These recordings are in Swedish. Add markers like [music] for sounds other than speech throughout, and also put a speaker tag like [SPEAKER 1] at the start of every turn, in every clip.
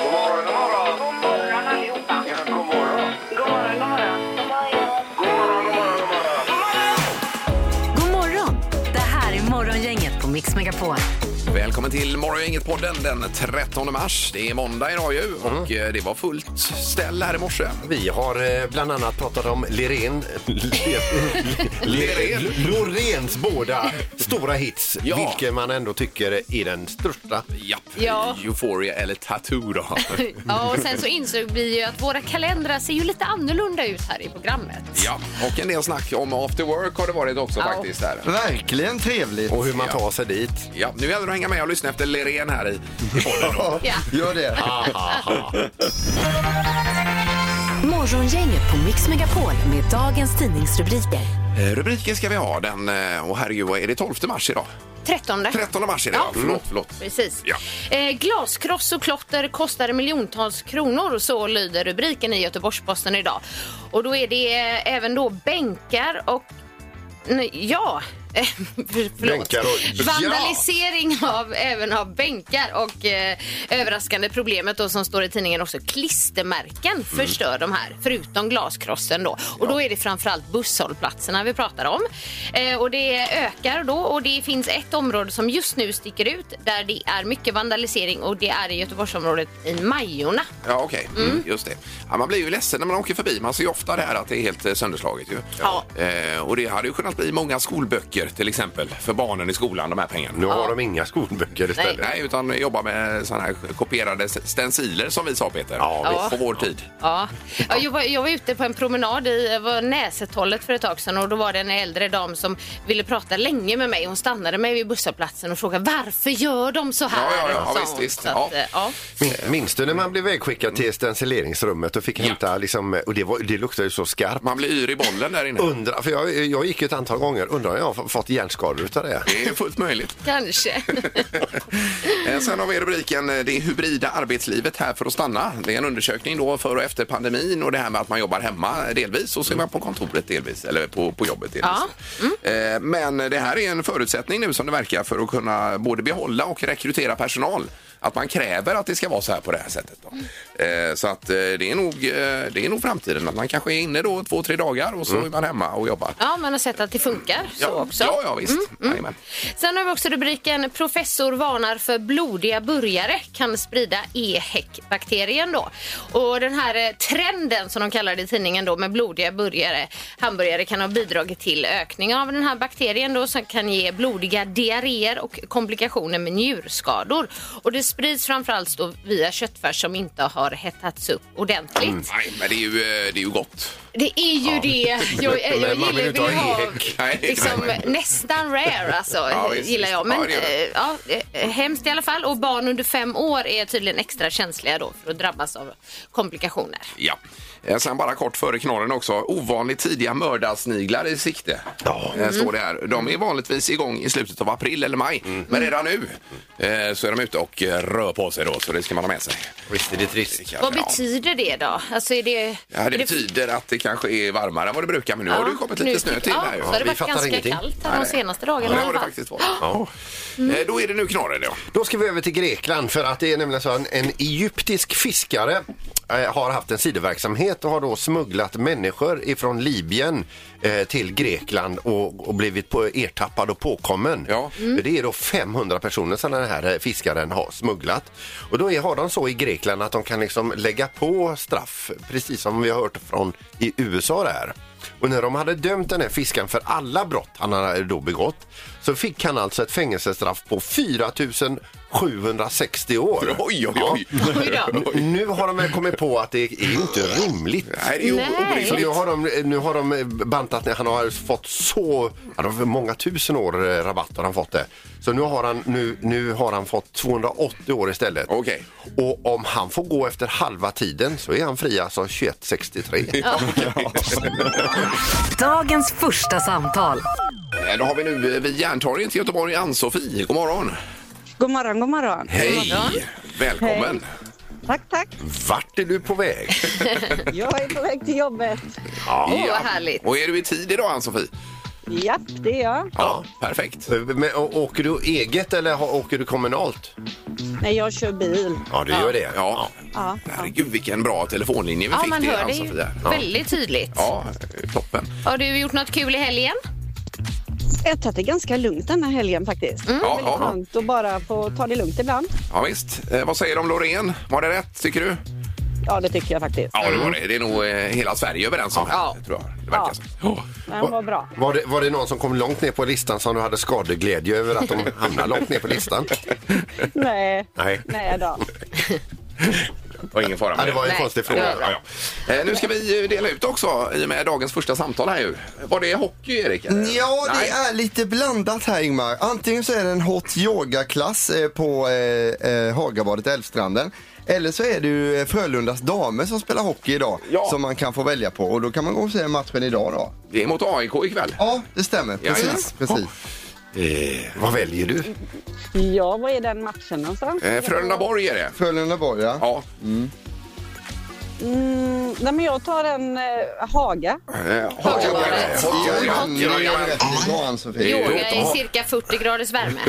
[SPEAKER 1] God morgon, god morgon. God morgon allihopa. Ja, god morgon. God morgon, god morgon. God morgon, god morgon, god morgon.
[SPEAKER 2] God morgon! Det här är Morgongänget på Mix Megapol.
[SPEAKER 3] Välkommen till Morgongänget-podden den 13 mars. Det är måndag idag ju och eh, det var fullt ställ här i morse.
[SPEAKER 4] Vi har eh, bland annat pratat om
[SPEAKER 3] [laughs]
[SPEAKER 4] Lirén, Lirén, Loreens båda stora hits,
[SPEAKER 3] Ja.
[SPEAKER 4] vilken man ändå tycker är den största.
[SPEAKER 3] Japp,
[SPEAKER 5] Ja.
[SPEAKER 3] Euphoria eller
[SPEAKER 5] [laughs]
[SPEAKER 3] Tattoo då.
[SPEAKER 5] Ja, och sen så insåg vi ju att våra kalendrar ser ju lite annorlunda ut här i programmet.
[SPEAKER 3] ja, och en del snack om after work har det varit också
[SPEAKER 5] Ja.
[SPEAKER 3] faktiskt. Här.
[SPEAKER 6] Verkligen trevligt.
[SPEAKER 4] Och hur man tar sig dit.
[SPEAKER 3] Ja, nu gäller det att hänga med och lyssna efter Lirén här i, i podden. då.
[SPEAKER 5] Ja.
[SPEAKER 6] Gör det.
[SPEAKER 2] Morgongänget på Mix Megapol med dagens tidningsrubriker.
[SPEAKER 3] Eh, Rubriken ska vi ha den, eh, och herregud, vad är det 12 mars idag?
[SPEAKER 5] 13.
[SPEAKER 3] 13 mars är det, ja.
[SPEAKER 5] Ja.
[SPEAKER 3] Förlåt, förlåt.
[SPEAKER 5] Precis.
[SPEAKER 3] Ja.
[SPEAKER 5] Eh, glaskross och klotter kostar miljontals kronor, så lyder rubriken i Göteborgs-Posten idag. Och då är det eh, även då bänkar och... Nej, ja. eh, [laughs] för- Förlåt.
[SPEAKER 4] Bänkar och-
[SPEAKER 5] Vandalisering av, även av bänkar och eh, överraskande problemet då som står i tidningen också klistermärken
[SPEAKER 4] Mm.
[SPEAKER 5] förstör de här förutom glaskrossen då. Och då är det framförallt busshållplatserna vi pratar om. Eh, och det ökar då och det finns ett område som just nu sticker ut där det är mycket vandalisering och det är i Göteborgsområdet i Majorna.
[SPEAKER 3] Ja, okej. Mm. Just det. Ja, man blir ju ledsen när man åker förbi. Man ser ju ofta det här att det är helt eh, sönderslaget. Ju.
[SPEAKER 5] Ja.
[SPEAKER 3] Eh, och det hade ju kunnat bli många skolböcker till exempel för barnen i skolan, de här pengarna.
[SPEAKER 4] Nu har de inga skolböcker istället.
[SPEAKER 3] Nej, utan jobba med såna här kopierade stenciler som vi sa, Peter.
[SPEAKER 4] Ja,
[SPEAKER 3] På vår tid.
[SPEAKER 5] Ja. Ja, jag, var, jag var ute på en promenad i jag var Näsethållet för ett tag sedan och då var det en äldre dam som ville prata länge med mig. Hon stannade mig vid busshållplatsen och frågade varför gör de så här?
[SPEAKER 3] Ja, ja, ja,
[SPEAKER 5] sa
[SPEAKER 3] visst,
[SPEAKER 5] hon.
[SPEAKER 3] visst.
[SPEAKER 5] Så
[SPEAKER 3] Ja.
[SPEAKER 5] att, eh, ja.
[SPEAKER 4] Min- Minns du när man blev vägskickad till stencileringsrummet och fick hämta liksom, och det, var, det luktade ju så skarpt.
[SPEAKER 3] Man blir yr i bollen där inne.
[SPEAKER 4] Undra, för jag, jag gick ju ett antal gånger, undrar om jag har fått hjärnskador utav det.
[SPEAKER 3] Det är fullt möjligt. [laughs]
[SPEAKER 5] Kanske.
[SPEAKER 3] Eh, Sen har vi rubriken eh, Det hybrida arbetslivet här för att stanna. Det är en undersökning då för och efter pandemin och det här med att man jobbar hemma delvis och så är man på kontoret delvis eller på, på jobbet delvis.
[SPEAKER 5] Ja. Mm.
[SPEAKER 3] Eh, Men det här är en förutsättning nu som det verkar för att kunna både behålla och rekrytera personal. Att man kräver att det ska vara så här på det här sättet. Då. Eh, Så att eh, det är, nog, eh, det är nog framtiden. Att man kanske är inne då två, tre dagar och så är man hemma och jobbar.
[SPEAKER 5] ja, man har sett att det funkar så
[SPEAKER 3] ja,
[SPEAKER 5] också. Mm,
[SPEAKER 3] ja, ja, visst. Jajamän.
[SPEAKER 5] Sen har vi också rubriken Professor varnar för blodiga burgare kan sprida EHEC-bakterien då. Och den här eh, trenden som de kallar det i tidningen då med blodiga burgare, hamburgare kan ha bidragit till ökningen av den här bakterien då som kan ge blodiga diarréer och komplikationer med njurskador. Och det sprids framförallt då via köttfärs som inte har hettats upp ordentligt.
[SPEAKER 3] Nej, men det är ju, eh, det är ju gott.
[SPEAKER 5] Det är ju det. Jag, jag,
[SPEAKER 4] Men man
[SPEAKER 5] gillar
[SPEAKER 4] vill
[SPEAKER 5] ju
[SPEAKER 4] inte
[SPEAKER 5] vill
[SPEAKER 4] ha
[SPEAKER 5] ha
[SPEAKER 4] ek.
[SPEAKER 3] Nej.
[SPEAKER 5] liksom, nästan rare alltså,
[SPEAKER 3] Ja, visst,
[SPEAKER 5] gillar jag.
[SPEAKER 3] visst.
[SPEAKER 5] Men
[SPEAKER 3] Ja, det gör
[SPEAKER 5] eh, ja, eh, hemskt i alla fall. Och barn under fem år är tydligen extra känsliga då för att drabbas av komplikationer.
[SPEAKER 3] Ja. Eh, Sen bara kort före knorren också. Ovanligt tidiga mördarsniglar i sikte.
[SPEAKER 4] Ja.
[SPEAKER 3] Eh, Står det här. De är vanligtvis igång i slutet av april eller maj. Men redan nu eh, så är de ute och eh, rör på sig då. Så det ska man ha med sig.
[SPEAKER 4] Visst är det trist.
[SPEAKER 3] Det kan-
[SPEAKER 5] Vad
[SPEAKER 3] ja.
[SPEAKER 5] betyder det då? Alltså är det...
[SPEAKER 3] Ja, det betyder att det kanske är varmare än vad det brukar. Men nu har det ju kommit lite snö till
[SPEAKER 5] ja,
[SPEAKER 3] här ju.
[SPEAKER 5] Så har det
[SPEAKER 4] Vi
[SPEAKER 5] varit
[SPEAKER 4] fattar
[SPEAKER 5] ganska
[SPEAKER 4] ingenting.
[SPEAKER 5] kallt här de senaste dagarna
[SPEAKER 3] Ja,
[SPEAKER 5] i
[SPEAKER 3] det har
[SPEAKER 5] alla
[SPEAKER 3] det
[SPEAKER 5] fall.
[SPEAKER 3] faktiskt varit. Ja. Eh, Då är det nu knorren då.
[SPEAKER 4] Då ska vi över till Grekland för att det är nämligen så att en egyptisk fiskare eh, har haft en sidoverksamhet och har då smugglat människor ifrån Libyen eh, till Grekland och, och blivit på, ertappad och påkommen.
[SPEAKER 3] Ja.
[SPEAKER 4] Det är då 500 personer som den här eh, fiskaren har smugglat. Och då är, har de så i Grekland att de kan liksom lägga på straff, precis som vi har hört från i USA där. Och när de hade dömt den här fiskaren för alla brott han hade då begått så fick han alltså ett fängelsestraff på 4760 år.
[SPEAKER 3] Oj, oj, oj.
[SPEAKER 5] Oj då.
[SPEAKER 4] Nu har de väl kommit på att det är inte rimligt.
[SPEAKER 3] Nej, det är ju
[SPEAKER 5] Nej.
[SPEAKER 4] Så nu
[SPEAKER 3] orimligt.
[SPEAKER 4] har, de, nu har de bantat ner, han har fått så, ja, det var många tusen år eh, rabatt har han fått det. Så nu har han, nu, nu har han fått 280 år istället.
[SPEAKER 3] Okej.
[SPEAKER 4] Och om han får gå efter halva tiden så är han fri alltså 2163.
[SPEAKER 2] Dagens första samtal.
[SPEAKER 3] Eh, Då har vi nu eh, vid Järntorget i Göteborg, Ann-Sofie. God morgon!
[SPEAKER 6] God morgon, god morgon.
[SPEAKER 3] Hej! Välkommen!
[SPEAKER 6] Tack, tack.
[SPEAKER 4] Vart är du på väg?
[SPEAKER 6] Jag är på väg till jobbet.
[SPEAKER 5] Åh, vad härligt.
[SPEAKER 3] Och är du i tid idag, Ann-Sofie?
[SPEAKER 6] Japp, det är jag.
[SPEAKER 3] Ja, perfekt.
[SPEAKER 4] Men, å- åker du eget eller ha- åker du kommunalt?
[SPEAKER 6] Nej, jag kör bil.
[SPEAKER 4] Ja, du gör det.
[SPEAKER 3] Ja.
[SPEAKER 6] Ja.
[SPEAKER 3] Herregud, vilken bra telefonlinje vi
[SPEAKER 5] Ja,
[SPEAKER 3] fick
[SPEAKER 5] man
[SPEAKER 3] till
[SPEAKER 5] hör det ju
[SPEAKER 3] Ann-Sofie. Ja.
[SPEAKER 5] väldigt tydligt.
[SPEAKER 3] ja, eh, toppen.
[SPEAKER 5] Har du gjort något kul i helgen?
[SPEAKER 6] Jag har tagit det ganska lugnt den här helgen faktiskt.
[SPEAKER 3] Ja,
[SPEAKER 6] Mm, Väldigt
[SPEAKER 3] ja,
[SPEAKER 6] skönt att bara få ta det lugnt ibland.
[SPEAKER 3] ja, visst. Eh, vad säger de Loreen? Var det rätt, tycker du?
[SPEAKER 6] Ja, det tycker jag faktiskt. Mm.
[SPEAKER 3] Ja, det var det. Det är nog eh, hela Sverige överens om här, tror jag. Det verkar
[SPEAKER 6] Ja.
[SPEAKER 3] så. Ja.
[SPEAKER 6] Den var bra.
[SPEAKER 4] Var det, var det någon som kom långt ner på listan som du hade skadeglädje över att de hamnade långt ner på listan?
[SPEAKER 6] Nej,
[SPEAKER 4] Nej.
[SPEAKER 6] nej då.
[SPEAKER 3] Det var ingen fara
[SPEAKER 4] Ja,
[SPEAKER 3] med
[SPEAKER 4] det var en
[SPEAKER 5] Nej.
[SPEAKER 4] konstig
[SPEAKER 3] Ja,
[SPEAKER 4] fråga.
[SPEAKER 3] ja, ja. Eh, Nu ska vi ju dela ut också i och med dagens första samtal här ju. Var det hockey Erik? eller?
[SPEAKER 7] Ja, det
[SPEAKER 3] Nej.
[SPEAKER 7] är lite blandat här Ingmar. Antingen så är det en hot yoga-klass eh, på eh, eh, Hagabadet Älvstranden. Eller så är det ju eh, Frölundas damer som spelar hockey idag.
[SPEAKER 3] Ja.
[SPEAKER 7] Som man kan få välja på. Och då kan man gå och se matchen idag då.
[SPEAKER 3] Det är mot AIK ikväll.
[SPEAKER 7] Ja, det stämmer. Precis,
[SPEAKER 3] Ja, ja.
[SPEAKER 7] precis.
[SPEAKER 3] Eh,
[SPEAKER 4] Vad väljer du?
[SPEAKER 6] Ja, vad är den matchen någonstans?
[SPEAKER 3] eh, Frölundaborg är det.
[SPEAKER 7] Frölunda Borg ja.
[SPEAKER 3] Ja,
[SPEAKER 6] Mm, nej, men jag tar en eh, Haga.
[SPEAKER 3] eh, hockey.
[SPEAKER 5] Hagabadet.
[SPEAKER 7] Ja,
[SPEAKER 3] Hockey.
[SPEAKER 7] det är rätt i morgon, Sofie.
[SPEAKER 5] Yoga i cirka 40 graders
[SPEAKER 3] [laughs]
[SPEAKER 5] värme.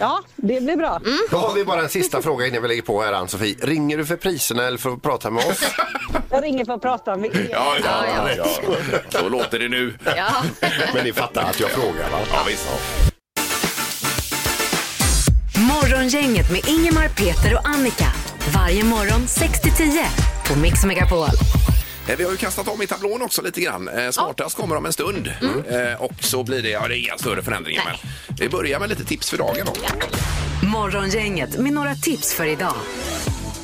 [SPEAKER 6] Ja, det blir bra.
[SPEAKER 4] Då har vi bara en sista fråga innan vi lägger på här Ann-Sofie. Ringer du för priserna eller för att prata med oss?
[SPEAKER 6] [laughs] Jag ringer för att prata med er.
[SPEAKER 3] Ja, ja, ja, ja. Så låter det nu.
[SPEAKER 5] Ja.
[SPEAKER 4] Men ni fattar att jag frågar va?
[SPEAKER 3] Ja, visst.
[SPEAKER 2] Morgongänget med Ingemar, Peter och Annika. Varje morgon 6 till 10 på Mix Megapol.
[SPEAKER 3] Eh, Vi har ju kastat om i tablån också lite grann. Eh, Smartast kommer om en stund.
[SPEAKER 5] Mm.
[SPEAKER 3] Eh, Och så blir det, ja det är inga större förändringar men vi börjar med lite tips för dagen då.
[SPEAKER 2] Morgongänget med några tips för idag.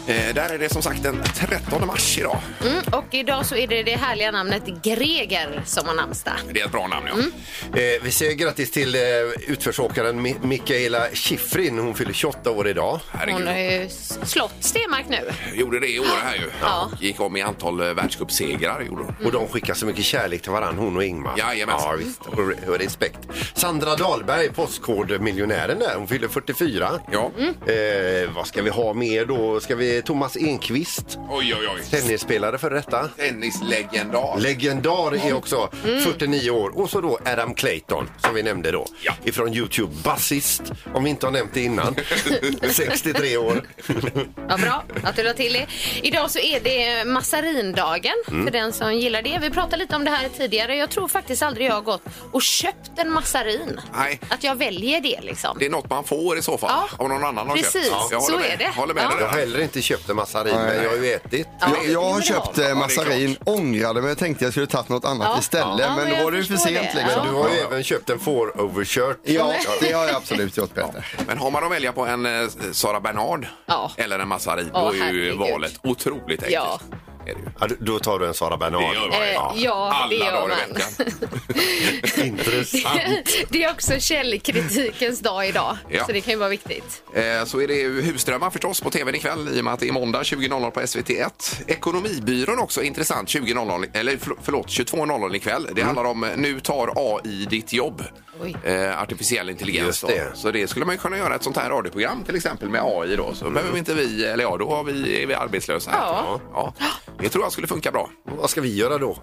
[SPEAKER 3] Eh, Där är det som sagt den 13 mars idag.
[SPEAKER 5] Mm, och idag så är det det härliga namnet Greger som har namnsdag.
[SPEAKER 3] Det är ett bra namn ja.
[SPEAKER 5] Mm.
[SPEAKER 4] Eh, vi säger grattis till eh, utförsåkaren Mi- Mikaela Schifrin. Hon fyller 28 år idag.
[SPEAKER 5] Hon har
[SPEAKER 3] Herregud.
[SPEAKER 5] ju slått Stenmark nu.
[SPEAKER 3] Gjorde det i år här ju.
[SPEAKER 5] Ja.
[SPEAKER 3] Och Gick om i antal eh, världscupsegrar gjorde hon.
[SPEAKER 4] Och de skickar så mycket kärlek till varandra, hon och Ingmar.
[SPEAKER 3] Jajamensan.
[SPEAKER 4] Ja, visst. Och, re- och respekt. Sandra Dahlberg, postkodmiljonären där, hon fyller 44.
[SPEAKER 3] Ja.
[SPEAKER 5] Mm.
[SPEAKER 4] Eh, vad ska vi ha mer då? Ska vi Thomas Enqvist,
[SPEAKER 3] Oj, oj, oj.
[SPEAKER 4] tennisspelare för detta.
[SPEAKER 3] Tennislegendar.
[SPEAKER 4] Legendar är också 49 år. Och så då Adam Clayton, som vi nämnde då.
[SPEAKER 3] Ja.
[SPEAKER 4] Ifrån Youtube. Basist, om vi inte har nämnt det innan. 63 år.
[SPEAKER 5] Ja, bra att du la till det. Idag så är det massarindagen
[SPEAKER 3] Mm.
[SPEAKER 5] för den som gillar det. Vi pratade lite om det här tidigare. Jag tror faktiskt aldrig jag har gått och köpt en massarin.
[SPEAKER 3] Nej.
[SPEAKER 5] Att jag väljer det liksom.
[SPEAKER 3] Det är något man får i så fall.
[SPEAKER 5] Ja.
[SPEAKER 3] Om någon annan har
[SPEAKER 5] Precis,
[SPEAKER 3] köpt. Ja, jag
[SPEAKER 5] så
[SPEAKER 3] håller med.
[SPEAKER 5] är det.
[SPEAKER 3] Jag håller med
[SPEAKER 5] Ja.
[SPEAKER 3] dig
[SPEAKER 4] Jag har
[SPEAKER 3] där.
[SPEAKER 4] heller inte köpt en massarin,
[SPEAKER 7] Nej.
[SPEAKER 4] men jag har ju ätit.
[SPEAKER 7] Jag, jag har
[SPEAKER 5] men det var
[SPEAKER 7] köpt eh,
[SPEAKER 5] bra.
[SPEAKER 3] Ja, det är
[SPEAKER 7] massarin, ångrade mig och tänkte jag skulle tagit något annat
[SPEAKER 5] Ja.
[SPEAKER 7] istället.
[SPEAKER 5] Ja, men
[SPEAKER 7] men då
[SPEAKER 5] jag
[SPEAKER 7] var det ju för
[SPEAKER 5] förstår
[SPEAKER 7] sent
[SPEAKER 5] det.
[SPEAKER 7] liksom.
[SPEAKER 5] Ja.
[SPEAKER 4] Du har ju även köpt en får-overshirt.
[SPEAKER 7] Ja, det har jag absolut gjort Peter.
[SPEAKER 3] Men har man att välja på en eh, Sara Bernhard
[SPEAKER 5] Ja.
[SPEAKER 3] eller en Massarin,
[SPEAKER 5] Ja,
[SPEAKER 3] då är ju
[SPEAKER 5] herregud.
[SPEAKER 3] valet otroligt enkelt.
[SPEAKER 5] Ja.
[SPEAKER 3] Är det ju.
[SPEAKER 4] Ja, då- Då tar du en Sara Bernhard.
[SPEAKER 3] Det gör man ju.
[SPEAKER 5] Eh, ja, det
[SPEAKER 3] Alla
[SPEAKER 5] gör
[SPEAKER 3] dagar i
[SPEAKER 5] man.
[SPEAKER 3] veckan.
[SPEAKER 4] Intressant.
[SPEAKER 5] [laughs] Det är också källkritikens dag idag.
[SPEAKER 3] Ja.
[SPEAKER 5] Så det kan ju vara viktigt.
[SPEAKER 3] Eh, Så är det ju Husdrömmar förstås på tvn ikväll i och med att det är måndag 20.00 på SVT1. Ekonomibyrån också intressant 20.00, eller förl- förlåt 22.00 ikväll. Det handlar om eh, Nu tar AI ditt jobb.
[SPEAKER 5] Oj.
[SPEAKER 3] Eh, artificiell intelligens.
[SPEAKER 4] Just
[SPEAKER 3] då.
[SPEAKER 4] det.
[SPEAKER 3] Så det skulle man ju kunna göra ett sånt här radioprogram till exempel med AI då. Så behöver vi inte vi, eller ja, då har vi, är vi arbetslösa.
[SPEAKER 5] Ja.
[SPEAKER 3] Mm. ja. Det tror jag skulle funka bra.
[SPEAKER 4] Vad ska vi göra då?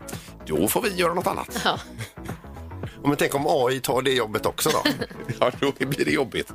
[SPEAKER 3] Då får vi göra något annat.
[SPEAKER 5] Ja.
[SPEAKER 4] Ja, Men tänk om AI tar det jobbet också
[SPEAKER 3] [laughs]
[SPEAKER 4] då?
[SPEAKER 3] [laughs] Ja, då blir det jobbigt.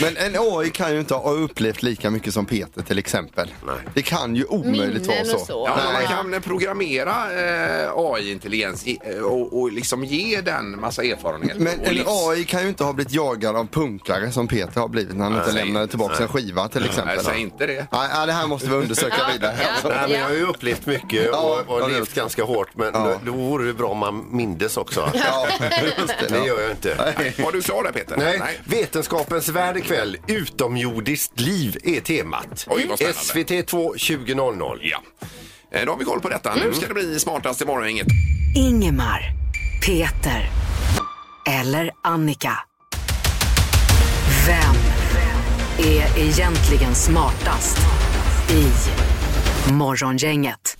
[SPEAKER 7] Men en AI kan ju inte ha upplevt lika mycket som Peter till exempel.
[SPEAKER 4] Nej.
[SPEAKER 7] Det kan ju omöjligt
[SPEAKER 5] Minnen
[SPEAKER 7] vara så.
[SPEAKER 5] och så.
[SPEAKER 3] Ja,
[SPEAKER 7] Nej.
[SPEAKER 3] man kan programmera eh, AI-intelligens i- eh, och, och liksom ge den massa erfarenhet.
[SPEAKER 7] Men
[SPEAKER 3] och liksom-
[SPEAKER 7] en
[SPEAKER 3] livs-
[SPEAKER 7] AI kan ju inte ha blivit jagad av punkare som Peter har blivit när han inte
[SPEAKER 3] säg-
[SPEAKER 7] lämnade tillbaka en skiva till exempel.
[SPEAKER 3] Nej, säg inte det.
[SPEAKER 7] Nej, nej, det här måste vi undersöka
[SPEAKER 5] Ja,
[SPEAKER 7] vidare.
[SPEAKER 5] ja.
[SPEAKER 7] Alltså.
[SPEAKER 4] Nej, men jag har ju upplevt mycket
[SPEAKER 7] Ja,
[SPEAKER 4] och, och
[SPEAKER 7] ja, det-
[SPEAKER 4] levt ganska hårt men
[SPEAKER 7] Ja.
[SPEAKER 4] då, då vore det bra om man mindes också.
[SPEAKER 7] Ja, just det.
[SPEAKER 4] Det gör jag inte.
[SPEAKER 3] Var du klar där Peter?
[SPEAKER 4] Nej. Vetenskapens värld ikväll, utomjordiskt liv är temat.
[SPEAKER 3] Oj, vad spännande.
[SPEAKER 4] SVT2 20.00.
[SPEAKER 3] Ja. Eh, Då har vi koll på detta. Nu ska det bli smartast i morgongänget.
[SPEAKER 2] Ingemar, Peter eller Annika. Vem är egentligen smartast i Morgongänget?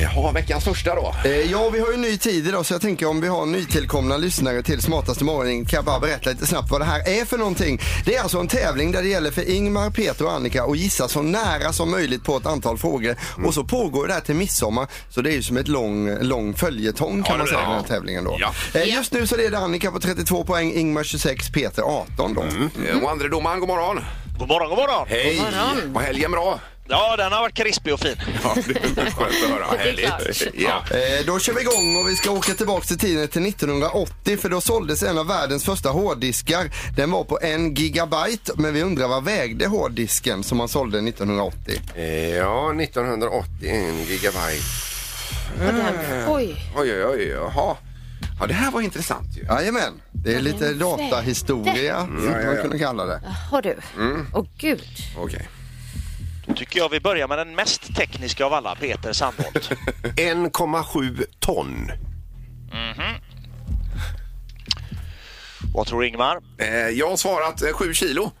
[SPEAKER 3] Jaha, Eh, veckans första då.
[SPEAKER 4] Eh, Ja, vi har ju en ny tid idag så jag tänker om vi har nytillkomna lyssnare till Smartaste morgonen kan jag bara berätta lite snabbt vad det här är för någonting. Det är alltså en tävling där det gäller för Ingmar, Peter och Annika att gissa så nära som möjligt på ett antal frågor.
[SPEAKER 3] Mm.
[SPEAKER 4] Och så pågår det här till midsommar så det är ju som ett lång, lång följetong kan
[SPEAKER 3] Ja,
[SPEAKER 4] man
[SPEAKER 3] det
[SPEAKER 4] säga
[SPEAKER 3] blir
[SPEAKER 4] den
[SPEAKER 3] det.
[SPEAKER 4] här tävlingen då.
[SPEAKER 3] Ja.
[SPEAKER 4] Eh, Just nu så leder Annika på 32 poäng, Ingmar 26, Peter 18 då.
[SPEAKER 3] Mm. Och andre domaren, god morgon.
[SPEAKER 1] God morgon, god morgon!
[SPEAKER 3] Hej! Var helgen bra?
[SPEAKER 1] Ja, den har varit krispig och fin.
[SPEAKER 3] Ja, det är skönt att höra.
[SPEAKER 5] klart.
[SPEAKER 3] Härligt. Ja.
[SPEAKER 4] Eh, Då kör vi igång och vi ska åka tillbaka till tiden till 1980 för då såldes en av världens första hårddiskar. Den var på en gigabyte men vi undrar vad vägde hårddisken som man sålde 1980?
[SPEAKER 3] Eh,
[SPEAKER 8] Ja, 1980, en gigabyte.
[SPEAKER 5] Oj,
[SPEAKER 3] Oj, oj, oj, jaha. Ja, det här var intressant ju.
[SPEAKER 4] Jajamän, det är lite datahistoria skulle man kunna kalla det.
[SPEAKER 5] har du? Åh gud.
[SPEAKER 3] Okej.
[SPEAKER 1] Då tycker jag vi börjar med den mest tekniska av alla,
[SPEAKER 7] [laughs]
[SPEAKER 1] Peter Sandholt.
[SPEAKER 8] 1,7 ton.
[SPEAKER 1] Vad tror Ingmar?
[SPEAKER 3] Eh, jag har svarat eh, sju kilo.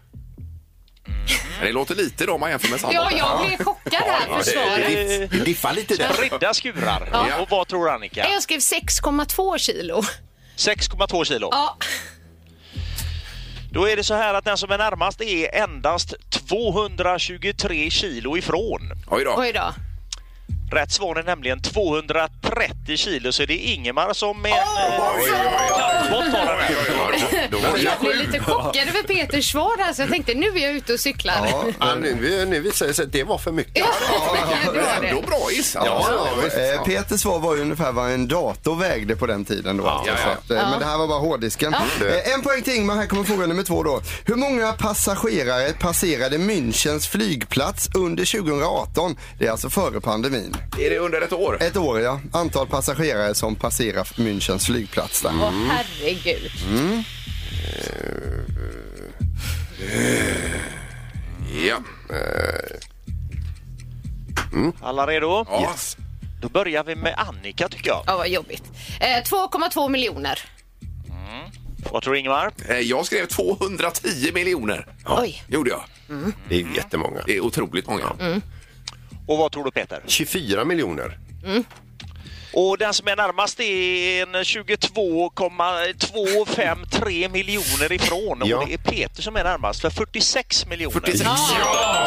[SPEAKER 3] Men Det låter lite då om man jämför med
[SPEAKER 5] Ja,
[SPEAKER 3] sandbollen.
[SPEAKER 5] jag blev chockad här, försvaret.
[SPEAKER 8] Det diff- diffar lite där.
[SPEAKER 1] Eh, Ridda skurar.
[SPEAKER 3] Ja.
[SPEAKER 1] Och vad tror Annika?
[SPEAKER 5] Nej, Jag skrev 6,2 kilo.
[SPEAKER 1] 6,2 kilo.
[SPEAKER 5] Ja,
[SPEAKER 1] Då är det så här att den som är närmast är endast 223 kilo ifrån.
[SPEAKER 3] Oj då.
[SPEAKER 5] oj då.
[SPEAKER 1] Rätt svar är nämligen 230 kilo så det är Ingemar som är en...
[SPEAKER 3] Oj, oj,
[SPEAKER 1] eh, bort har den.
[SPEAKER 3] oj, oj, oj. Då var
[SPEAKER 5] Jag
[SPEAKER 3] jag
[SPEAKER 5] blev
[SPEAKER 3] sju.
[SPEAKER 5] lite chockad över Peters svar här, så jag tänkte nu är jag ute och cyklar.
[SPEAKER 4] Ja.
[SPEAKER 8] Ja, nu, nu visar det sig att det var för mycket.
[SPEAKER 5] Ja, det var
[SPEAKER 3] Ändå
[SPEAKER 5] det.
[SPEAKER 3] bra gissat.
[SPEAKER 8] Ja, ja, visst.
[SPEAKER 4] Eh, Peters svar var ju ungefär vad en dator vägde på den tiden då. alltså,
[SPEAKER 3] ja,
[SPEAKER 4] så
[SPEAKER 3] ja.
[SPEAKER 4] att, eh, Men det här var bara hårddisken.
[SPEAKER 8] Ja.
[SPEAKER 4] Eh, en poäng till Ingmar, här kommer fråga nummer två då. Hur många passagerare passerade Münchens flygplats under 2018? Det är alltså före pandemin.
[SPEAKER 3] Är det under ett år?
[SPEAKER 4] Ett år ja, antal passagerare som passerar Münchens flygplats där.
[SPEAKER 5] Åh herregud.
[SPEAKER 3] Ja.
[SPEAKER 1] Alla redo?
[SPEAKER 3] ja.
[SPEAKER 1] Då börjar vi med Annika tycker jag.
[SPEAKER 5] Ja, vad jobbigt. Eh, 2,2 miljoner.
[SPEAKER 1] Vad tror Ingemar?
[SPEAKER 3] Eh, Jag skrev 210 miljoner.
[SPEAKER 5] Oj.
[SPEAKER 3] Gjorde jag.
[SPEAKER 8] Mm. Det är ju jättemånga.
[SPEAKER 3] Det är otroligt många. Mm.
[SPEAKER 1] Och vad tror du Peter?
[SPEAKER 8] 24 miljoner.
[SPEAKER 1] Och den som är närmast är en 22,253 miljoner ifrån.
[SPEAKER 8] Ja.
[SPEAKER 1] Och det är Peter som är närmast för 46 miljoner.
[SPEAKER 3] 46. Ja.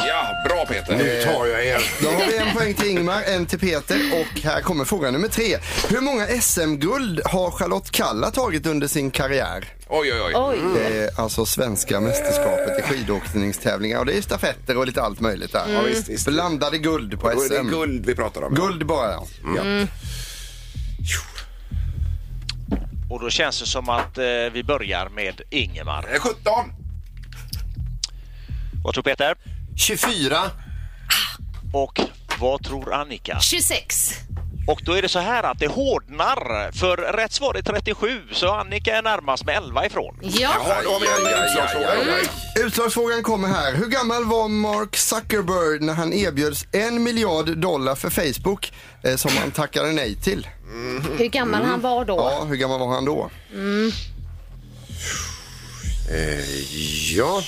[SPEAKER 3] ja, bra Peter.
[SPEAKER 8] Nu tar jag er.
[SPEAKER 4] Då har vi en poäng till Ingmar, en till Peter och här kommer fråga nummer tre. Hur många SM-guld har Charlotte Kalla tagit under sin karriär?
[SPEAKER 3] Oj, oj, oj.
[SPEAKER 5] Oj.
[SPEAKER 4] Det är alltså svenska mästerskapet i skidåkningstävlingar och det är stafetter och lite allt möjligt där. Ja,
[SPEAKER 3] visst, visst.
[SPEAKER 4] Blandade guld på
[SPEAKER 3] Då är det
[SPEAKER 4] SM.
[SPEAKER 3] guld vi pratar om.
[SPEAKER 4] Guld bara ja.
[SPEAKER 8] Mm.
[SPEAKER 3] Ja.
[SPEAKER 1] Och då känns det som att eh, vi börjar med Ingemar.
[SPEAKER 3] Eh, 17.
[SPEAKER 1] Vad tror Peter?
[SPEAKER 8] 24.
[SPEAKER 1] Och vad tror Annika?
[SPEAKER 5] 26.
[SPEAKER 1] Och då är det så här att det hårdnar. För rätt svar är 37 så Annika är närmast med 11 ifrån.
[SPEAKER 5] Ja.
[SPEAKER 3] Ja, då har vi en utslagsfråga.
[SPEAKER 4] Utslagsfrågan kommer här. Hur gammal var Mark Zuckerberg när han erbjöds en miljard dollar för Facebook eh, som han tackade nej till?
[SPEAKER 5] Hur gammal han var då?
[SPEAKER 4] Ja, hur gammal var han då?
[SPEAKER 8] Ja.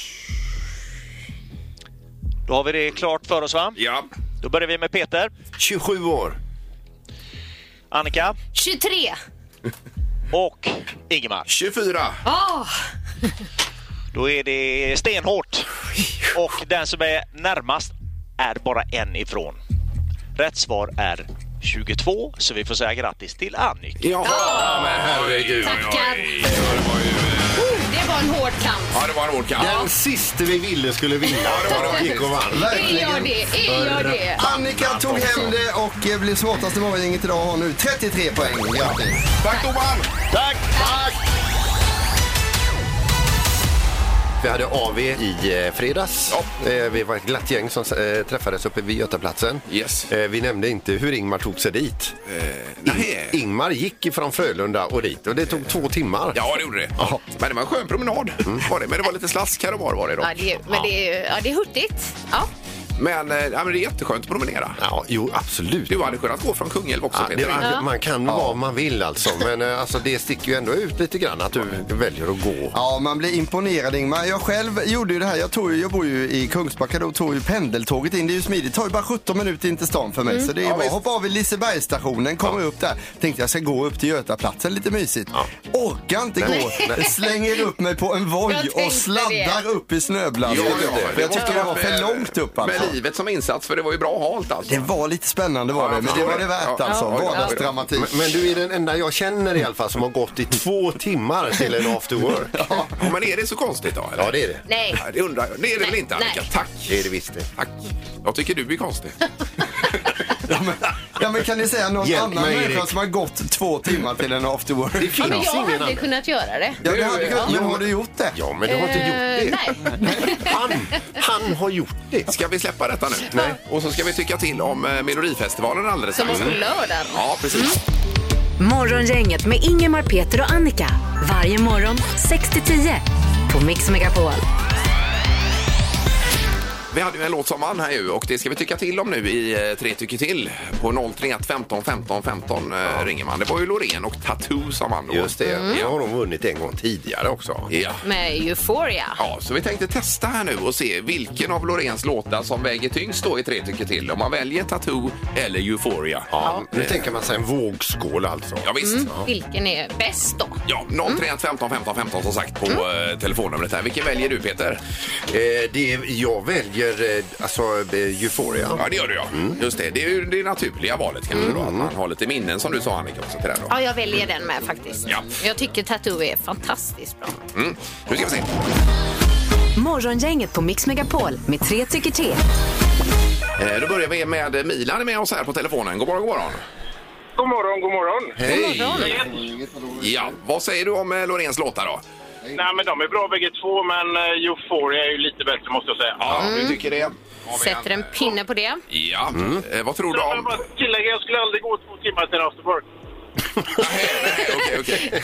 [SPEAKER 1] Då har vi det klart för oss va?
[SPEAKER 3] Ja.
[SPEAKER 1] Då börjar vi med Peter.
[SPEAKER 8] 27 år.
[SPEAKER 1] Annika
[SPEAKER 5] 23.
[SPEAKER 1] och Ingemar.
[SPEAKER 3] 24.
[SPEAKER 5] Ah,
[SPEAKER 1] Då är det stenhårt. Och den som är närmast är bara en ifrån. Rätt svar är 22, så vi får säga grattis till Annika.
[SPEAKER 3] Ja, men herregud.
[SPEAKER 5] Tackar.
[SPEAKER 3] Oj, oj, oj.
[SPEAKER 5] det var en hård kamp.
[SPEAKER 3] Ja, det var en hård kamp.
[SPEAKER 8] Den siste vi ville skulle vinna. Gick och vann.
[SPEAKER 5] Är jag det? Är jag det?
[SPEAKER 4] Annika tog hem det och eh, blev smartaste morgongänget idag och har nu 33 poäng. Grattis!
[SPEAKER 3] Tack domaren!
[SPEAKER 1] Tack!
[SPEAKER 8] Vi hade AV i eh, fredags. Eh, Vi var ett glatt gäng som eh, träffades uppe vid Götaplatsen.
[SPEAKER 3] Yes.
[SPEAKER 8] Eh, Vi nämnde inte hur Ingmar tog sig dit.
[SPEAKER 3] Eh, Nej.
[SPEAKER 8] Ingmar gick ifrån Frölunda och dit och det tog två timmar.
[SPEAKER 3] Ja, det gjorde det. Men det var en skön promenad. Var det? Men det var lite slask här och var. var det då.
[SPEAKER 5] Ja, det är, men det är, ja, det är hurtigt. Ja.
[SPEAKER 3] Men, eh, ja, men det är jätteskönt att promenera.
[SPEAKER 4] Ja, jo, absolut.
[SPEAKER 3] Du hade kunnat gå från Kungälv också,
[SPEAKER 4] Ja, Ah, det,
[SPEAKER 3] Peter.
[SPEAKER 4] man, man kan vad man vill alltså, men eh, alltså, det sticker ju ändå ut lite grann att du väljer att gå.
[SPEAKER 7] Ja, man blir imponerad Ingmar. Jag själv gjorde ju det här. Jag, tog, ju- jag bor ju i Kungsbacka. Då tog ju pendeltåget in. Det är ju smidigt. Det tar ju bara 17 minuter in till stan för mig. Så det är
[SPEAKER 3] Ja,
[SPEAKER 7] bra.
[SPEAKER 3] visst.
[SPEAKER 7] Hoppade av vid Lisebergsstationen, kom upp där. Tänkte jag ska gå upp till Götaplatsen. Lite mysigt. Orkar inte
[SPEAKER 4] Nej.
[SPEAKER 7] gå.
[SPEAKER 4] Nej.
[SPEAKER 7] Slänger upp mig på en
[SPEAKER 5] Jag
[SPEAKER 7] voj
[SPEAKER 5] tänkte
[SPEAKER 7] och sladdar
[SPEAKER 5] det.
[SPEAKER 7] upp i snöblandet.
[SPEAKER 3] Ja, ja,
[SPEAKER 7] För jag
[SPEAKER 3] det
[SPEAKER 7] tyckte det var
[SPEAKER 3] måste
[SPEAKER 7] för
[SPEAKER 3] med-
[SPEAKER 7] långt upp alltså.
[SPEAKER 3] Med livet som insats, för det var ju bra halt alltså.
[SPEAKER 7] Det var lite spännande var
[SPEAKER 3] Ja,
[SPEAKER 7] det,
[SPEAKER 3] jag
[SPEAKER 7] men det
[SPEAKER 3] förstår
[SPEAKER 7] var det
[SPEAKER 3] det.
[SPEAKER 7] värt
[SPEAKER 3] Ja.
[SPEAKER 7] alltså.
[SPEAKER 3] Ja, ja, ja.
[SPEAKER 7] Vardagsdramatik.
[SPEAKER 4] Men, men du är den enda jag känner i alla fall som har gått i två timmar till en
[SPEAKER 7] [laughs]
[SPEAKER 4] after work.
[SPEAKER 3] Ja, men är det så konstigt då? Eller?
[SPEAKER 4] Ja, det är det.
[SPEAKER 5] Nej.
[SPEAKER 3] Ja, det undrar jag. Det är det väl
[SPEAKER 5] Nej,
[SPEAKER 3] inte, Annika?
[SPEAKER 5] nej.
[SPEAKER 3] Tack!
[SPEAKER 4] Det är det visst det.
[SPEAKER 3] Tack! Jag tycker du är konstig.
[SPEAKER 7] Ja, men, ja, men kan ni säga någon
[SPEAKER 4] Hjälp
[SPEAKER 7] annan
[SPEAKER 4] mig,
[SPEAKER 7] människa
[SPEAKER 4] Erik.
[SPEAKER 7] som har gått två timmar till en after
[SPEAKER 4] Det
[SPEAKER 7] work?
[SPEAKER 5] Ja, men
[SPEAKER 4] finns
[SPEAKER 5] jag
[SPEAKER 4] ingen
[SPEAKER 5] hade
[SPEAKER 4] annan.
[SPEAKER 5] kunnat göra det.
[SPEAKER 7] Ja, det hade, kunnat- men har du gjort det?
[SPEAKER 4] Ja, men du har inte
[SPEAKER 5] Eh,
[SPEAKER 4] gjort det.
[SPEAKER 5] nej.
[SPEAKER 4] Han, han har gjort det.
[SPEAKER 3] Ska vi släppa detta nu? Nej. Och så ska vi tycka till om eh, Melodifestivalen alldeles
[SPEAKER 5] Som
[SPEAKER 3] strax.
[SPEAKER 5] var på Mm. lördagen.
[SPEAKER 3] Ja, precis.
[SPEAKER 2] Morgongänget med Ingemar, Peter och Annika. Varje morgon 6 till 10 på Mix Megapol.
[SPEAKER 3] Vi hade ju en låt som vann här ju och det ska vi tycka till om nu i eh, Tre tycker till. På 031 15 15 15 eh, ringer man. Det var ju Loreen och Tattoo som vann då.
[SPEAKER 4] Just det.
[SPEAKER 5] Mm.
[SPEAKER 4] Det har de vunnit en gång tidigare också.
[SPEAKER 3] Ja.
[SPEAKER 5] Med Euphoria.
[SPEAKER 3] Ja, så vi tänkte testa här nu och se vilken av Loreens låtar som väger tyngst då i Tre tycker till. Om man väljer Tattoo eller Euphoria.
[SPEAKER 4] Ja, nu tänker man sig en vågskål alltså.
[SPEAKER 3] Ja, visst.
[SPEAKER 5] Mm. Vilken är bäst då?
[SPEAKER 3] Ja, 031 15 15 15 som sagt på eh, telefonnumret här. Vilken väljer du Peter?
[SPEAKER 4] Mm. Eh, det är, jag väljer eh, alltså, eh, Euphoria. Mm.
[SPEAKER 3] Ja, det gör du ja. Just det, det är ju det naturliga valet kanske då. Att man har lite minnen som du sa Annika också till den då.
[SPEAKER 5] Ja, jag väljer den med faktiskt.
[SPEAKER 3] Ja.
[SPEAKER 5] Jag tycker Tattoo är fantastiskt bra.
[SPEAKER 3] Mm. Nu ska vi se.
[SPEAKER 2] Morgongänget på Mix Megapol med tre tycker till.
[SPEAKER 3] Eh, Då börjar vi med Milan är med oss här på telefonen. God morgon, god morgon.
[SPEAKER 9] God morgon, god morgon.
[SPEAKER 3] Hej! Ja, vad säger du om eh, Loreens låtar då?
[SPEAKER 9] Nej, men de är bra bägge två, men eh, Euphoria är ju lite bättre måste jag säga.
[SPEAKER 3] Ja, du tycker det.
[SPEAKER 5] Sätter en pinne på det.
[SPEAKER 3] Ja,
[SPEAKER 4] Mm.
[SPEAKER 3] eh, vad tror du
[SPEAKER 9] Jag vill
[SPEAKER 3] om...
[SPEAKER 9] bara tillägga, jag skulle aldrig gå två timmar till en after work.
[SPEAKER 3] [laughs] Okej, okej.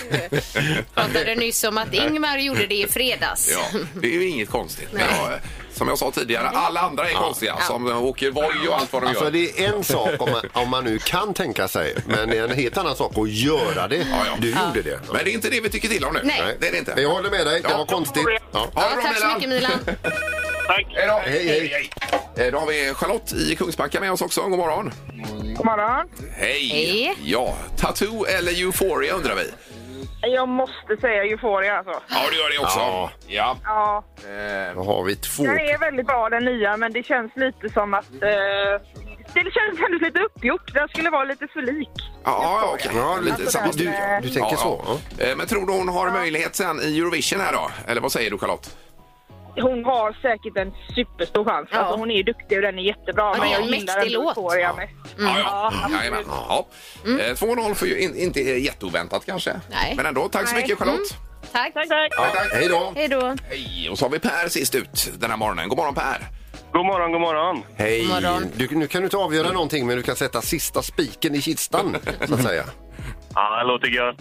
[SPEAKER 5] Pratade nyss om att Ingmar gjorde det i fredags.
[SPEAKER 3] Ja, det är ju inget konstigt. Men ja, eh, som jag sa tidigare, alla andra är konstiga som eh, åker voj och allt vad de
[SPEAKER 4] Alltså
[SPEAKER 3] gör.
[SPEAKER 4] det är en sak om man, om man nu kan tänka sig, men det är en helt annan sak att göra det.
[SPEAKER 3] Ja, ja.
[SPEAKER 4] Du gjorde det.
[SPEAKER 3] Men det är inte det vi tycker till om nu.
[SPEAKER 5] Nej.
[SPEAKER 3] Det är det inte.
[SPEAKER 4] Jag håller med dig, det
[SPEAKER 3] Ja.
[SPEAKER 4] var konstigt. Ja.
[SPEAKER 3] Ha det bra,
[SPEAKER 5] tack så mycket Milan.
[SPEAKER 9] Tack!
[SPEAKER 3] Hej då.
[SPEAKER 4] Hej, hej.
[SPEAKER 3] Eh, Då har vi Charlotte i Kungsbacka med oss också. God morgon.
[SPEAKER 9] God morgon.
[SPEAKER 3] Hej!
[SPEAKER 5] Hej.
[SPEAKER 3] Ja, Tattoo eller Euphoria undrar vi.
[SPEAKER 9] Jag måste säga Euphoria alltså.
[SPEAKER 3] Ja, det gör det också.
[SPEAKER 4] Ja.
[SPEAKER 3] ja.
[SPEAKER 9] Ja,
[SPEAKER 4] Då har vi två.
[SPEAKER 9] den är väldigt bra den nya, men det känns lite som att... Eh, det känns ändå lite uppgjort. Den skulle vara lite för lik.
[SPEAKER 3] Ja, ja, okej.
[SPEAKER 4] Ja, lite
[SPEAKER 9] Alltså,
[SPEAKER 4] samma.
[SPEAKER 9] den,
[SPEAKER 4] Du,
[SPEAKER 9] eh,
[SPEAKER 4] du tänker
[SPEAKER 3] ja,
[SPEAKER 4] så? Ja.
[SPEAKER 3] Ja. Eh, Men tror du hon har möjlighet sen i Eurovision här då? Eller vad säger du Charlotte?
[SPEAKER 9] Hon har säkert en superstor chans.
[SPEAKER 5] Ja.
[SPEAKER 9] Alltså, hon är ju duktig och den är jättebra,
[SPEAKER 5] det
[SPEAKER 9] men
[SPEAKER 5] är
[SPEAKER 9] jag
[SPEAKER 5] en
[SPEAKER 9] gillar
[SPEAKER 5] mäktig
[SPEAKER 9] ändå
[SPEAKER 5] låt.
[SPEAKER 9] Euphoria mest.
[SPEAKER 3] Ja, ja.
[SPEAKER 9] Ja,
[SPEAKER 3] ja. Jajamän. Ja. Eh, 2-0 för ju in, inte eh, jätteoväntat kanske.
[SPEAKER 5] Nej.
[SPEAKER 3] Men ändå, tack så
[SPEAKER 9] Nej.
[SPEAKER 3] mycket Charlotte.
[SPEAKER 5] Tack.
[SPEAKER 9] Tack, tack!
[SPEAKER 4] Ja, hej då!
[SPEAKER 5] Hej då.
[SPEAKER 3] Hej. Och så har vi Per sist ut den här morgonen. God morgon Per!
[SPEAKER 9] God morgon, god morgon!
[SPEAKER 4] Hej!
[SPEAKER 5] God morgon.
[SPEAKER 4] Du, nu kan du inte avgöra någonting, men du kan sätta sista spiken i kistan, så att säga.
[SPEAKER 9] Ja, det låter gött.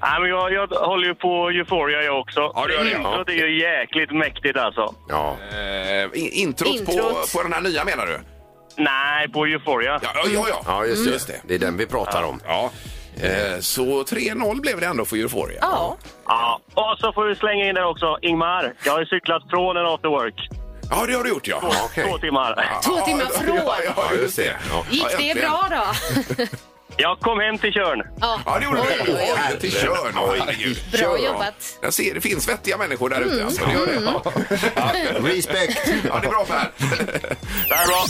[SPEAKER 9] Nej, men jag, jag håller ju på Euphoria jag också.
[SPEAKER 3] Ja, det gör det, ja.
[SPEAKER 9] Introt är ju jäkligt mäktigt alltså.
[SPEAKER 4] Ja.
[SPEAKER 3] Eh, in- introt på,
[SPEAKER 5] Introt.
[SPEAKER 3] på den här nya menar du?
[SPEAKER 9] Nej, på Euphoria.
[SPEAKER 3] Ja, ja, ja. ja.
[SPEAKER 4] ja, just det. Det är den vi pratar om.
[SPEAKER 3] ja. Eh, så 3-0 blev det ändå för Euphoria.
[SPEAKER 5] Ja,
[SPEAKER 9] Ja. Och så får vi slänga in där också, Ingmar. Jag har ju cyklat från en after work.
[SPEAKER 3] Ja, det har du gjort ja.
[SPEAKER 4] Ja, okej.
[SPEAKER 9] Två timmar.
[SPEAKER 5] två timmar från.
[SPEAKER 3] Ja, ja just det. Ja.
[SPEAKER 5] Gick
[SPEAKER 3] Ja,
[SPEAKER 5] det
[SPEAKER 3] äntligen.
[SPEAKER 5] bra då?
[SPEAKER 9] Jag kom hem till Körn.
[SPEAKER 5] Ja.
[SPEAKER 3] Ja, det gjorde
[SPEAKER 5] Oj,
[SPEAKER 3] du.
[SPEAKER 5] oj,
[SPEAKER 3] Oj, till Tjörn. Oj, herregud.
[SPEAKER 5] Bra
[SPEAKER 3] Tjörn, ja.
[SPEAKER 5] jobbat. Mm.
[SPEAKER 3] Jag ser, det finns vettiga människor där ute. Alltså, det gör det. Ja.
[SPEAKER 4] Respekt!
[SPEAKER 3] Ja, det är bra Per.
[SPEAKER 9] Det här är bra.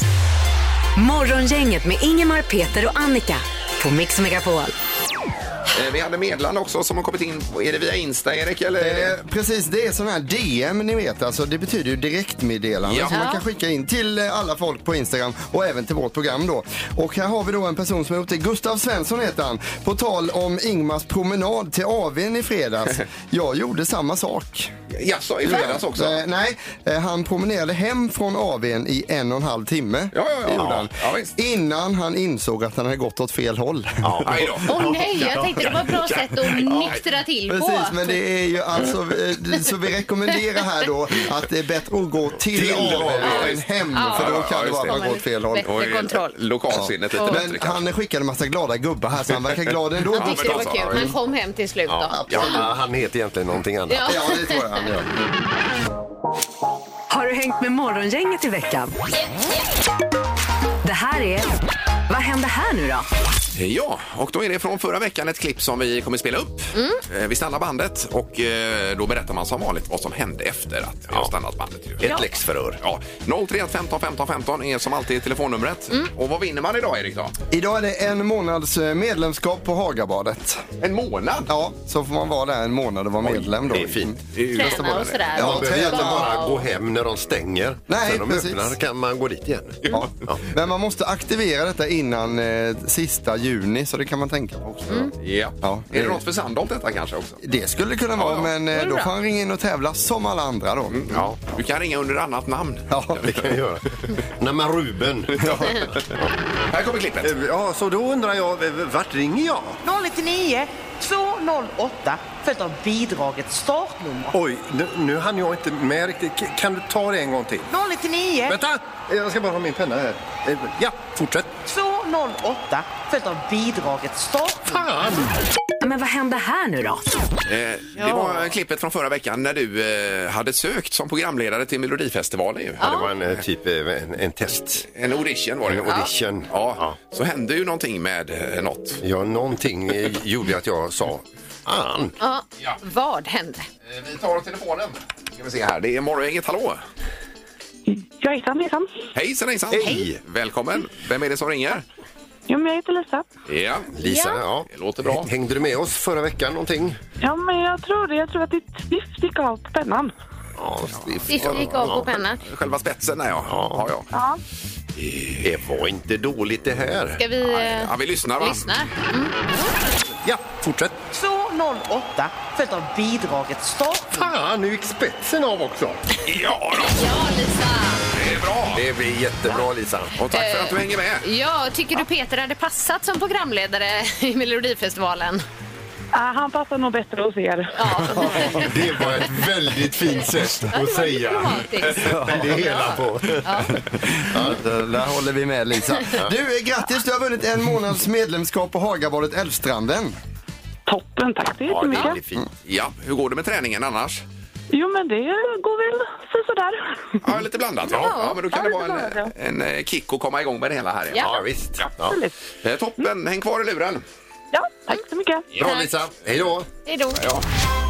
[SPEAKER 2] Morgongänget med Ingemar, Peter och Annika på Mix Megapol.
[SPEAKER 3] Eh, Vi hade meddelande också som har kommit in. Är det via Insta, Erik? Eller? är det-
[SPEAKER 7] Eh, Precis, det är sån här DM ni vet, alltså det betyder ju direktmeddelande
[SPEAKER 3] Ja.
[SPEAKER 7] som man kan skicka in till eh, alla folk på Instagram och även till vårt program då. Och här har vi då en person som har gjort det, Gustav Svensson heter han,
[SPEAKER 5] [laughs]
[SPEAKER 7] på tal om Ingmars promenad till AWn i fredags. Jag gjorde samma sak.
[SPEAKER 3] Jaså, i fredags
[SPEAKER 4] Ja.
[SPEAKER 3] också?
[SPEAKER 4] Eh, nej, eh, han promenerade hem från AWn i en och en halv timme.
[SPEAKER 3] Ja, ja, ja.
[SPEAKER 4] Det gjorde han.
[SPEAKER 3] Ja,
[SPEAKER 4] Innan han insåg att han hade gått åt fel håll. [laughs]
[SPEAKER 3] [laughs]
[SPEAKER 5] Åh nej, jag tänkte det var ett bra sätt att nyktra till på.
[SPEAKER 4] Precis, men det är ju alltså, eh, så vi rekommenderar här då att det är bättre att gå till,
[SPEAKER 3] Till
[SPEAKER 4] AW
[SPEAKER 3] AW,
[SPEAKER 4] än
[SPEAKER 3] just.
[SPEAKER 4] hem,
[SPEAKER 3] Ja,
[SPEAKER 4] för då
[SPEAKER 3] ja,
[SPEAKER 4] kan det
[SPEAKER 3] just
[SPEAKER 4] vara att
[SPEAKER 3] det.
[SPEAKER 4] man går åt fel håll.
[SPEAKER 3] Bättre Oj, kontroll. lokalsinnet lite bättre
[SPEAKER 4] Men
[SPEAKER 3] kanske.
[SPEAKER 4] han skickade en massa glada gubbar här, så han verkar glad ändå.
[SPEAKER 5] Han tyckte det var kul. Han kom hem till slut då.
[SPEAKER 10] Ja, han heter egentligen någonting annat.
[SPEAKER 5] Ja. Ja, det tror jag
[SPEAKER 10] han gör.
[SPEAKER 2] Har du hängt med Morgongänget i veckan? Det här är... Vad händer här nu då?
[SPEAKER 3] Ja, och då är det från förra veckan ett klipp som vi kommer spela upp.
[SPEAKER 10] Mm.
[SPEAKER 3] Eh, Vi stannar bandet och eh, då berättar man som vanligt vad som hände efter att vi har stannat bandet. Ju.
[SPEAKER 10] Ett Ja. läxförhör.
[SPEAKER 3] Ja. 031 15 15 15 är som alltid telefonnumret.
[SPEAKER 10] Mm.
[SPEAKER 3] Och vad vinner man idag, Erik? Då?
[SPEAKER 4] Idag är det en månads eh, medlemskap på Hagabadet.
[SPEAKER 3] En månad?
[SPEAKER 4] Ja, så får man vara där en månad och vara medlem då.
[SPEAKER 10] Det är fint.
[SPEAKER 5] Träna Göteborg. och sådär.
[SPEAKER 10] Ja,
[SPEAKER 4] Ja,
[SPEAKER 10] man behöver ju inte
[SPEAKER 4] träna.
[SPEAKER 10] bara gå hem när de stänger.
[SPEAKER 4] Nej,
[SPEAKER 10] Sen de
[SPEAKER 4] precis.
[SPEAKER 10] öppnar kan man gå dit igen.
[SPEAKER 4] Ja. Men man måste aktivera detta innan eh, sista juni, så det kan man tänka på också.
[SPEAKER 10] Mm.
[SPEAKER 3] Ja.
[SPEAKER 4] det-
[SPEAKER 3] Är det något för Sandholt detta kanske också?
[SPEAKER 4] Det skulle det kunna vara, men eh, då får han ringa in och tävla som alla andra då.
[SPEAKER 10] Mm.
[SPEAKER 3] Ja. Du kan ringa under annat namn.
[SPEAKER 4] Ja,
[SPEAKER 10] det kan jag
[SPEAKER 3] [laughs]
[SPEAKER 10] göra. Nej, men Ruben.
[SPEAKER 3] Här kommer klippet.
[SPEAKER 10] Ja, så då undrar jag, vart ringer jag?
[SPEAKER 11] 099 208 följt av bidragets startnummer.
[SPEAKER 10] Oj, nu, nu hann jag inte med riktigt. K- Kan du ta det en gång till?
[SPEAKER 11] 099
[SPEAKER 10] Vänta! Jag ska bara ha min penna här. Eh, Ja, fortsätt.
[SPEAKER 11] 208 följt av bidragets startnummer.
[SPEAKER 2] Men vad händer här nu då?
[SPEAKER 3] Eh, Det
[SPEAKER 11] Ja.
[SPEAKER 3] var klippet från förra veckan när du eh, hade sökt som programledare till Melodifestivalen. Ju.
[SPEAKER 10] Ja, det var en eh, typ eh, en, en test.
[SPEAKER 3] En audition var det.
[SPEAKER 10] En audition.
[SPEAKER 3] Ja. Så hände ju någonting med eh, något.
[SPEAKER 10] Ja, någonting eh, gjorde att jag sa fan.
[SPEAKER 5] Ja. Vad hände?
[SPEAKER 3] Eh, Vi tar telefonen. Ska vi se här. Det är Morgongänget, hallå!
[SPEAKER 12] Ja, hejsan, hejsan.
[SPEAKER 3] Hejsan hejsan!
[SPEAKER 10] Hej.
[SPEAKER 3] Välkommen! Vem är det som ringer?
[SPEAKER 12] Jo, men jag heter Lisa.
[SPEAKER 3] Ja,
[SPEAKER 10] Lisa, ja.
[SPEAKER 3] det låter bra.
[SPEAKER 10] Hängde du med oss förra veckan någonting?
[SPEAKER 12] Ja, men jag tror det. Jag tror att ditt sniff gick av på pennan.
[SPEAKER 10] Ja,
[SPEAKER 5] Fiff gick av på pennan.
[SPEAKER 3] Själva spetsen där ja. Ja, ja.
[SPEAKER 12] Ja.
[SPEAKER 10] Det var inte dåligt det här.
[SPEAKER 5] Ska vi... eh,
[SPEAKER 3] ja vi lyssnar va?
[SPEAKER 5] lyssna?
[SPEAKER 10] Ja, fortsätt.
[SPEAKER 11] 208 följt av bidragets startnummer.
[SPEAKER 10] Fan, nu gick spetsen av också.
[SPEAKER 3] Ja, då.
[SPEAKER 5] Ja, Lisa.
[SPEAKER 3] det är bra!
[SPEAKER 10] Det blir jättebra, Lisa.
[SPEAKER 3] Och tack för att du hänger med.
[SPEAKER 5] Ja, tycker du Peter hade passat som programledare i Melodifestivalen?
[SPEAKER 12] Ah, han passar nog bättre hos er.
[SPEAKER 10] Det var ett väldigt fint sätt att säga.
[SPEAKER 5] Diplomatiskt.
[SPEAKER 10] Det hela på.
[SPEAKER 4] Det Där håller vi med Lisa. Du, eh, grattis! Du har vunnit en månads medlemskap på Hagabadet Älvstranden.
[SPEAKER 12] Toppen, tack så jättemycket.
[SPEAKER 10] Det är fint.
[SPEAKER 3] Ja, hur går det med träningen annars?
[SPEAKER 12] Jo, men det går väl så- sådär.
[SPEAKER 3] Ja, lite blandat. Ja, ja men då kan
[SPEAKER 12] Ja,
[SPEAKER 3] det
[SPEAKER 12] lite
[SPEAKER 3] vara en,
[SPEAKER 12] blandat,
[SPEAKER 3] en eh, kick att komma igång med det hela här.
[SPEAKER 5] Ja.
[SPEAKER 10] Ja, visst. Ja.
[SPEAKER 12] Absolut.
[SPEAKER 3] Eh, Toppen, häng kvar i luren.
[SPEAKER 12] Ja, tack så mycket.
[SPEAKER 10] Bra, Lisa. Hej då.
[SPEAKER 5] Hej då.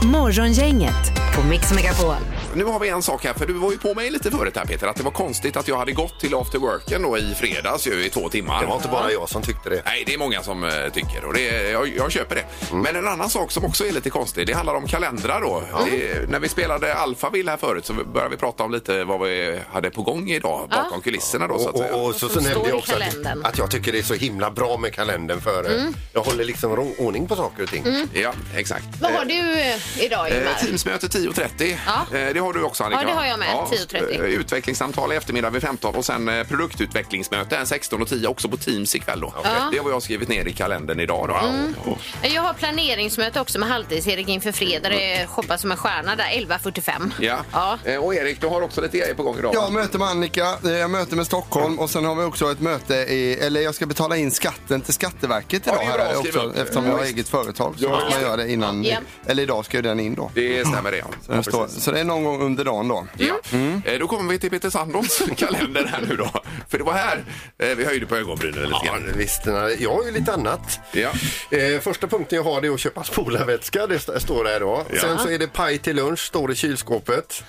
[SPEAKER 2] Morgongänget på Mix Megapol.
[SPEAKER 3] Nu har vi en sak här, för du var ju på mig lite förut här Peter, att det var konstigt att jag hade gått till after worken då i fredags ju i två timmar.
[SPEAKER 10] Det var inte bara jag som tyckte det.
[SPEAKER 3] Nej, det är många som eh, tycker och det, jag, jag köper det. Men en annan sak som också är lite konstig, det handlar om kalendrar då. Det, när vi spelade Alphaville här förut så började vi prata om lite vad vi hade på gång idag bakom kulisserna då så att
[SPEAKER 10] Och,
[SPEAKER 3] säga.
[SPEAKER 10] och, och så, så
[SPEAKER 5] Som
[SPEAKER 10] nämnde
[SPEAKER 5] står
[SPEAKER 10] jag
[SPEAKER 5] i
[SPEAKER 10] också
[SPEAKER 5] kalendern.
[SPEAKER 10] att, att jag tycker det är så himla bra med kalendern för eh, jag håller liksom ro- ordning på saker och ting.
[SPEAKER 3] Ja, exakt.
[SPEAKER 5] Vad har du eh, idag,
[SPEAKER 3] Eh,
[SPEAKER 5] Ingmar?
[SPEAKER 3] Teamsmöte 10.30.
[SPEAKER 5] Ja.
[SPEAKER 3] Eh, Det har du också Annika.
[SPEAKER 5] Ja, det har jag med. 10.30.
[SPEAKER 3] eh, Utvecklingssamtal i eftermiddag vid 15 och sen eh, produktutvecklingsmöte 16.10 också på Teams ikväll då. Det har jag skrivit ner i kalendern idag då.
[SPEAKER 5] Mm.
[SPEAKER 3] Och-
[SPEAKER 5] Jag har planeringsmöte också med Halvtids-Erik inför fredag. Det är Shoppa som en stjärna där, 11.45.
[SPEAKER 3] Ja.
[SPEAKER 5] Ja.
[SPEAKER 3] Eh, Och Erik, du har också lite grejer på gång idag.
[SPEAKER 4] Jag har möte med Annika, eh, jag har möte med Stockholm och sen har vi också ett möte i, eller jag ska betala in skatten till Skatteverket idag
[SPEAKER 3] det är bra,
[SPEAKER 4] här
[SPEAKER 3] skriv
[SPEAKER 4] också,
[SPEAKER 3] upp.
[SPEAKER 4] eftersom jag har eget företag. Så
[SPEAKER 3] Ja.
[SPEAKER 4] måste man göra det innan,
[SPEAKER 5] Ja.
[SPEAKER 4] eller idag ska ju den in då.
[SPEAKER 3] Det stämmer det. Ja.
[SPEAKER 4] Så, den
[SPEAKER 3] Ja,
[SPEAKER 4] står,
[SPEAKER 3] precis.
[SPEAKER 4] så det är någon gång under dagen då.
[SPEAKER 3] Ja.
[SPEAKER 5] Mm.
[SPEAKER 3] Eh, Då kommer vi till Peter Sandholms [laughs] kalender här nu då. För det var här eh, vi höjde på ögonbrynen lite
[SPEAKER 10] Ja,
[SPEAKER 3] grann.
[SPEAKER 10] visst, nej, jag har ju lite annat.
[SPEAKER 3] Ja.
[SPEAKER 10] Eh, första punkten jag har det är att köpa spolarvätska, det st- står det här då.
[SPEAKER 3] Ja.
[SPEAKER 10] Sen så är det paj till lunch, står i kylskåpet.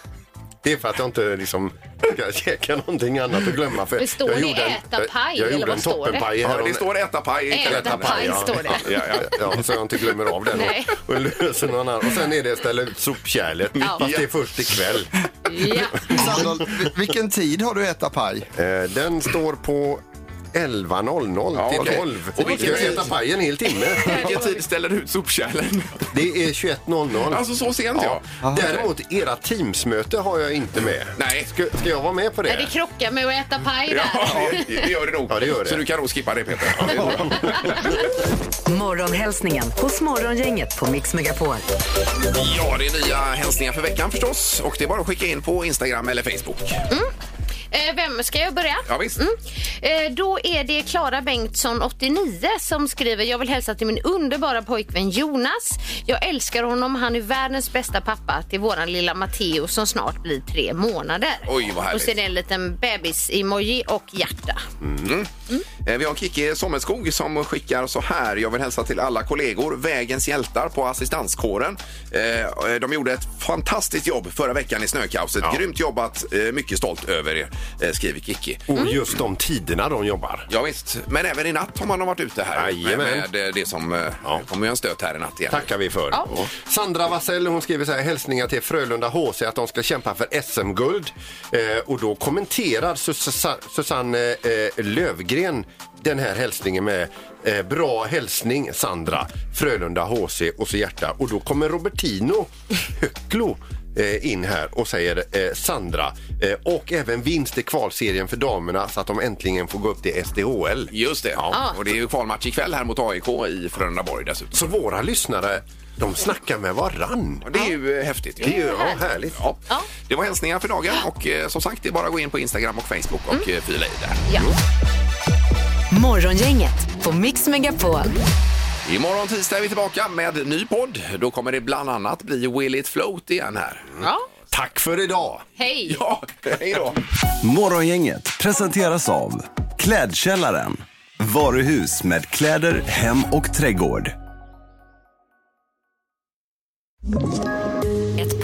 [SPEAKER 10] Det är för att jag inte liksom ska käka någonting annat och glömma. För
[SPEAKER 5] Men står
[SPEAKER 10] jag
[SPEAKER 5] det äta paj,
[SPEAKER 10] Jag, jag
[SPEAKER 5] eller
[SPEAKER 10] gjorde
[SPEAKER 5] vad
[SPEAKER 10] en
[SPEAKER 5] står det?
[SPEAKER 10] toppenpaj
[SPEAKER 3] Ja,
[SPEAKER 10] härom-
[SPEAKER 3] det står äta paj i
[SPEAKER 5] Äta
[SPEAKER 3] kalendern.
[SPEAKER 5] paj,
[SPEAKER 3] Ja.
[SPEAKER 5] står det.
[SPEAKER 3] Ja, ja.
[SPEAKER 10] Ja, så jag inte glömmer av den.
[SPEAKER 5] Nej.
[SPEAKER 10] Och löser någon annan. Och sen är det ställa ut sopkärlet.
[SPEAKER 5] Ja.
[SPEAKER 10] Fast det är först ikväll.
[SPEAKER 5] Ja.
[SPEAKER 4] Sandal, vil- vilken tid har du ätit paj?
[SPEAKER 10] Eh, Den står på
[SPEAKER 4] 11.00 till
[SPEAKER 3] okej.
[SPEAKER 4] 12.
[SPEAKER 3] Och
[SPEAKER 4] Vi
[SPEAKER 3] vilken
[SPEAKER 4] ska
[SPEAKER 3] tid?
[SPEAKER 4] äta paj en hel timme.
[SPEAKER 3] Vilken tid ställer du ut sopkärlen?
[SPEAKER 4] Det är 21.00.
[SPEAKER 3] Alltså, så sent, ja.
[SPEAKER 4] Däremot era teamsmöte har jag inte med. Nej. Ska, ska jag vara med på det?
[SPEAKER 5] Nej, det krockar med att äta paj där.
[SPEAKER 3] det gör det nog.
[SPEAKER 4] Ja, det gör det.
[SPEAKER 3] Så du kan nog skippa det Peter.
[SPEAKER 4] [laughs]
[SPEAKER 2] Morgonhälsningen hos Morgongänget på Mix Megapol.
[SPEAKER 3] Ja, det är nya hälsningar för veckan förstås. Och det är bara att skicka in på Instagram eller Facebook.
[SPEAKER 5] Eh, Vem ska jag börja?
[SPEAKER 3] Ja, visst.
[SPEAKER 5] Eh, Då är det Klara Bengtsson, 89, som skriver Jag vill hälsa till min underbara pojkvän Jonas. Jag älskar honom. Han är världens bästa pappa till våran lilla Matteo som snart blir tre månader.
[SPEAKER 3] Oj, vad härligt.
[SPEAKER 5] Och sen är det en liten bebis-emoji och hjärta.
[SPEAKER 3] Mm. Eh, Vi har Kicki Sommeskog som skickar så här. Jag vill hälsa till alla kollegor, Vägens hjältar på assistanskåren. Eh, De gjorde ett fantastiskt jobb förra veckan i snökaoset. Grymt jobbat, eh, mycket stolt över er, eh, skriver Kicki.
[SPEAKER 4] Och just de tiderna de jobbar.
[SPEAKER 3] Ja, visst. men även i natt har man varit ute här med, med eh, det som eh, kommer ju en stöt här i natt igen.
[SPEAKER 4] Tackar vi för.
[SPEAKER 3] Ja.
[SPEAKER 4] Sandra Vassell hon skriver så här, hälsningar till Frölunda HC att de ska kämpa för SM-guld. Eh, och då kommenterar Susa- Susanne eh, Lövgren den här hälsningen med eh, bra hälsning Sandra, Frölunda HC och så hjärta. Och då kommer Robertino Höcklo eh, in här och säger eh, Sandra eh, och även vinst i kvalserien för damerna så att de äntligen får gå upp till SDHL.
[SPEAKER 3] Just det, och det är ju kvalmatch ikväll här mot AIK i Frölundaborg dessutom.
[SPEAKER 4] Så våra lyssnare, de snackar med varann.
[SPEAKER 3] Det är ju eh, häftigt. ju.
[SPEAKER 4] Det är ju ja, härligt.
[SPEAKER 3] Ja. Det var hälsningar för dagen och eh, som sagt det är bara att gå in på Instagram och Facebook och eh, fylla i där.
[SPEAKER 2] Morgongänget på Mix Megapol.
[SPEAKER 3] Imorgon tisdag är vi tillbaka med ny podd. Då kommer det bland annat bli Will It Float igen här.
[SPEAKER 5] Ja.
[SPEAKER 4] Tack för idag!
[SPEAKER 5] Hej!
[SPEAKER 3] Ja, [laughs] hej då!
[SPEAKER 13] Morgongänget presenteras av Klädkällaren. Varuhus med kläder, hem och trädgård.
[SPEAKER 14] Ett